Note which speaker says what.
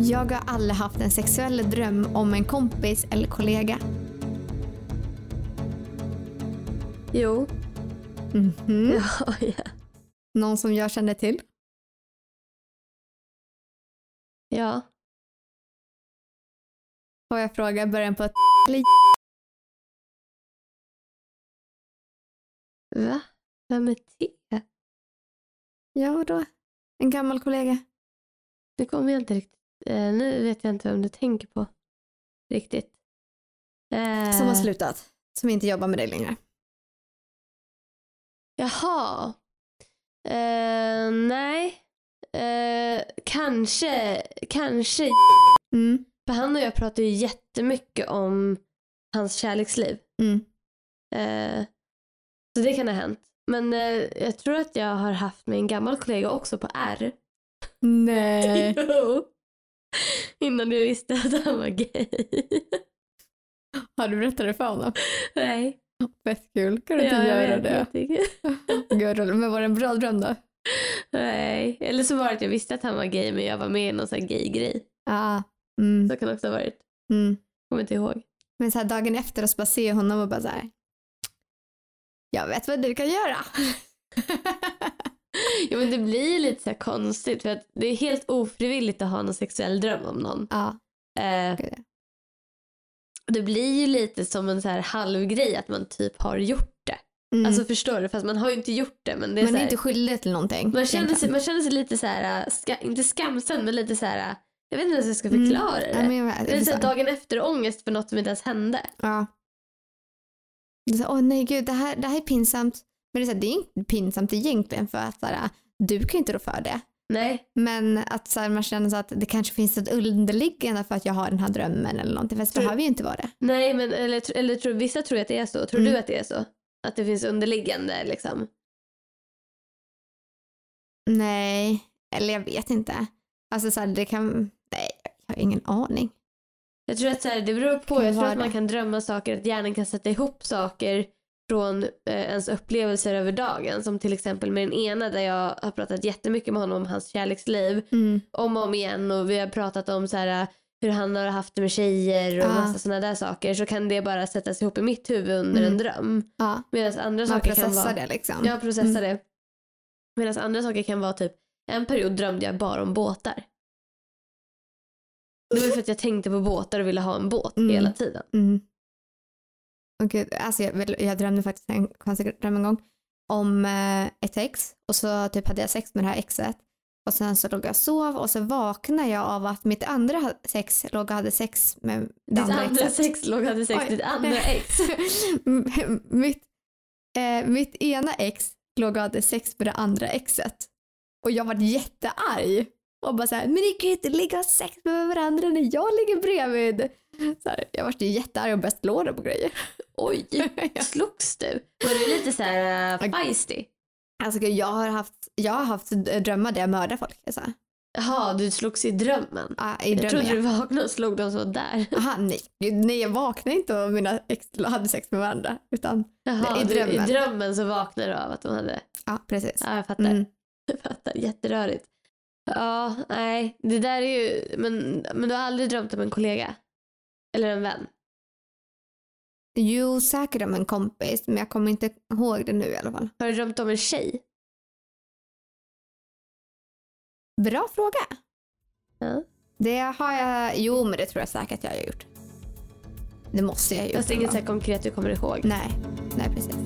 Speaker 1: Jag har aldrig haft en sexuell dröm om en kompis eller kollega.
Speaker 2: Jo,
Speaker 1: Mhm.
Speaker 2: det har jag.
Speaker 1: Någon som jag känner till?
Speaker 2: Ja.
Speaker 1: Får jag fråga början på ett eller
Speaker 2: Va? Vem är det?
Speaker 1: Ja, då. En gammal kollega.
Speaker 2: Nu kommer jag inte riktigt... Eh, nu vet jag inte vem du tänker på. Riktigt. Eh,
Speaker 1: Som har slutat. Som inte jobbar med dig längre.
Speaker 2: Jaha. Eh, nej. Eh, kanske, kanske.
Speaker 1: Mm.
Speaker 2: För han och jag pratar ju jättemycket om hans kärleksliv.
Speaker 1: Mm.
Speaker 2: Eh, så det kan ha hänt. Men eh, jag tror att jag har haft med en gammal kollega också på R.
Speaker 1: Nej.
Speaker 2: Jo. Innan jag visste att han var gay.
Speaker 1: Har du berättat det för honom?
Speaker 2: Nej.
Speaker 1: Fett kul. Kan du inte
Speaker 2: Ja, jag
Speaker 1: göra
Speaker 2: vet
Speaker 1: det?
Speaker 2: inte.
Speaker 1: Gud, roligt. Men var det en bra dröm då?
Speaker 2: Nej. Eller så var det att jag visste att han var gay men jag var med i någon sån här gay-grej.
Speaker 1: Ja. Mm.
Speaker 2: Så kan det också ha varit.
Speaker 1: Mm.
Speaker 2: Kommer inte ihåg.
Speaker 1: Men så här dagen efter och så bara ser jag honom och bara så här. Jag vet vad du kan göra.
Speaker 2: Jo men det blir lite så här konstigt för att det är helt ofrivilligt att ha någon sexuell dröm om någon.
Speaker 1: ja.
Speaker 2: Eh,
Speaker 1: Gud, ja.
Speaker 2: det blir ju lite som en så här halvgrej att man typ har gjort det.
Speaker 1: Mm.
Speaker 2: Alltså förstår du? Fast man har ju inte gjort det men det är
Speaker 1: man
Speaker 2: så
Speaker 1: är
Speaker 2: här,
Speaker 1: inte skyldig till någonting.
Speaker 2: man, känner sig,
Speaker 1: egentligen.
Speaker 2: man känner sig lite så här, äh, ska, inte skamsen men lite så här, äh, jag vet inte ens hur jag ska förklara det.
Speaker 1: Mm. Ja, men jag vet,
Speaker 2: det är lite så här
Speaker 1: förstår.
Speaker 2: dagen efter ångest för något som inte ens hände.
Speaker 1: Ja. Det är så, Åh nej gud, det här, det här är pinsamt. Men det är, så här, det är inte pinsamt egentligen för att så här, du kan ju inte rå för det.
Speaker 2: Nej,
Speaker 1: Men att så här, man känner så att det kanske finns ett underliggande för att jag har den här drömmen eller någonting. Fast det
Speaker 2: Tror-
Speaker 1: behöver ju inte vara det.
Speaker 2: nej men eller, tr- eller tror, vissa tror ju att det är så. Tror
Speaker 1: Mm.
Speaker 2: du att det är så? Att det finns underliggande liksom?
Speaker 1: Nej, eller jag vet inte. Alltså så här, det kan, nej jag har ingen aning.
Speaker 2: Jag tror att så här, det beror på.
Speaker 1: Kan
Speaker 2: Jag tror
Speaker 1: vara
Speaker 2: att man
Speaker 1: det.
Speaker 2: kan drömma saker, att hjärnan kan sätta ihop saker från eh, ens upplevelser över dagen. Som till exempel med den ena där jag har pratat jättemycket med honom om hans kärleksliv.
Speaker 1: Mm.
Speaker 2: Om och om igen och vi har pratat om så här, hur han har haft det med tjejer och
Speaker 1: Ja.
Speaker 2: massa sådana där saker. Så kan det bara sättas ihop i mitt huvud under
Speaker 1: Mm.
Speaker 2: en dröm.
Speaker 1: Ja,
Speaker 2: Medan andra
Speaker 1: man
Speaker 2: saker Alltså, kan vara...
Speaker 1: processar det liksom.
Speaker 2: Jag processar det. Medan andra saker kan vara typ, en period drömde jag bara om båtar. Det var ju för att jag tänkte på båtar och ville ha en båt
Speaker 1: Mm.
Speaker 2: hela tiden.
Speaker 1: Mm. Och gud, alltså jag, väl- jag drömde faktiskt en konstig dröm en gång om eh, ett ex och så typ hade jag sex med det här exet och sen så låg jag och sov och så vaknade jag av att mitt andra ha- sex låg och hade sex med det
Speaker 2: Ditt andra,
Speaker 1: andra exet.
Speaker 2: sex låg hade sex,
Speaker 1: Oj.
Speaker 2: ditt andra ex.
Speaker 1: mitt, eh, mitt ena ex låg och hade sex med det andra exet och jag var jättearg och bara såhär, men ni kan ju inte ligga och ha sex med varandra när jag ligger bredvid. Så här, jag var jättearg och började slå dem på grejer.
Speaker 2: Oj, slogs du? Var du lite så här äh, feisty?
Speaker 1: Alltså gud, jag har haft, jag har haft drömmar där jag mördar folk. Alltså.
Speaker 2: Jaha, du slogs i drömmen.
Speaker 1: Ja, I
Speaker 2: Jag
Speaker 1: drömmen.
Speaker 2: trodde du vaknade och slog de som var där.
Speaker 1: ja. Aha, nej. Gud, nej, jag vaknade inte och mina ex hade sex med varandra. Utan,
Speaker 2: Jaha,
Speaker 1: Nej, i
Speaker 2: du,
Speaker 1: drömmen.
Speaker 2: i drömmen så vaknade du av att de hade...
Speaker 1: ja precis.
Speaker 2: Ja, jag fattar.
Speaker 1: Mm.
Speaker 2: Jag fattar, jätterörigt. Ja, nej, det där är ju... Men, men du har aldrig drömt om en kollega? Eller en vän?
Speaker 1: Jo, säkert om en kompis, men jag kommer inte ihåg det nu i alla fall.
Speaker 2: Har du drömt om en tjej?
Speaker 1: Bra fråga.
Speaker 2: Ja.
Speaker 1: Det har jag, jo men det tror jag säkert jag har gjort. Det måste jag ha gjort.
Speaker 2: Fast
Speaker 1: någon
Speaker 2: inget så
Speaker 1: gång.
Speaker 2: här konkret du kommer ihåg?
Speaker 1: Nej, nej precis.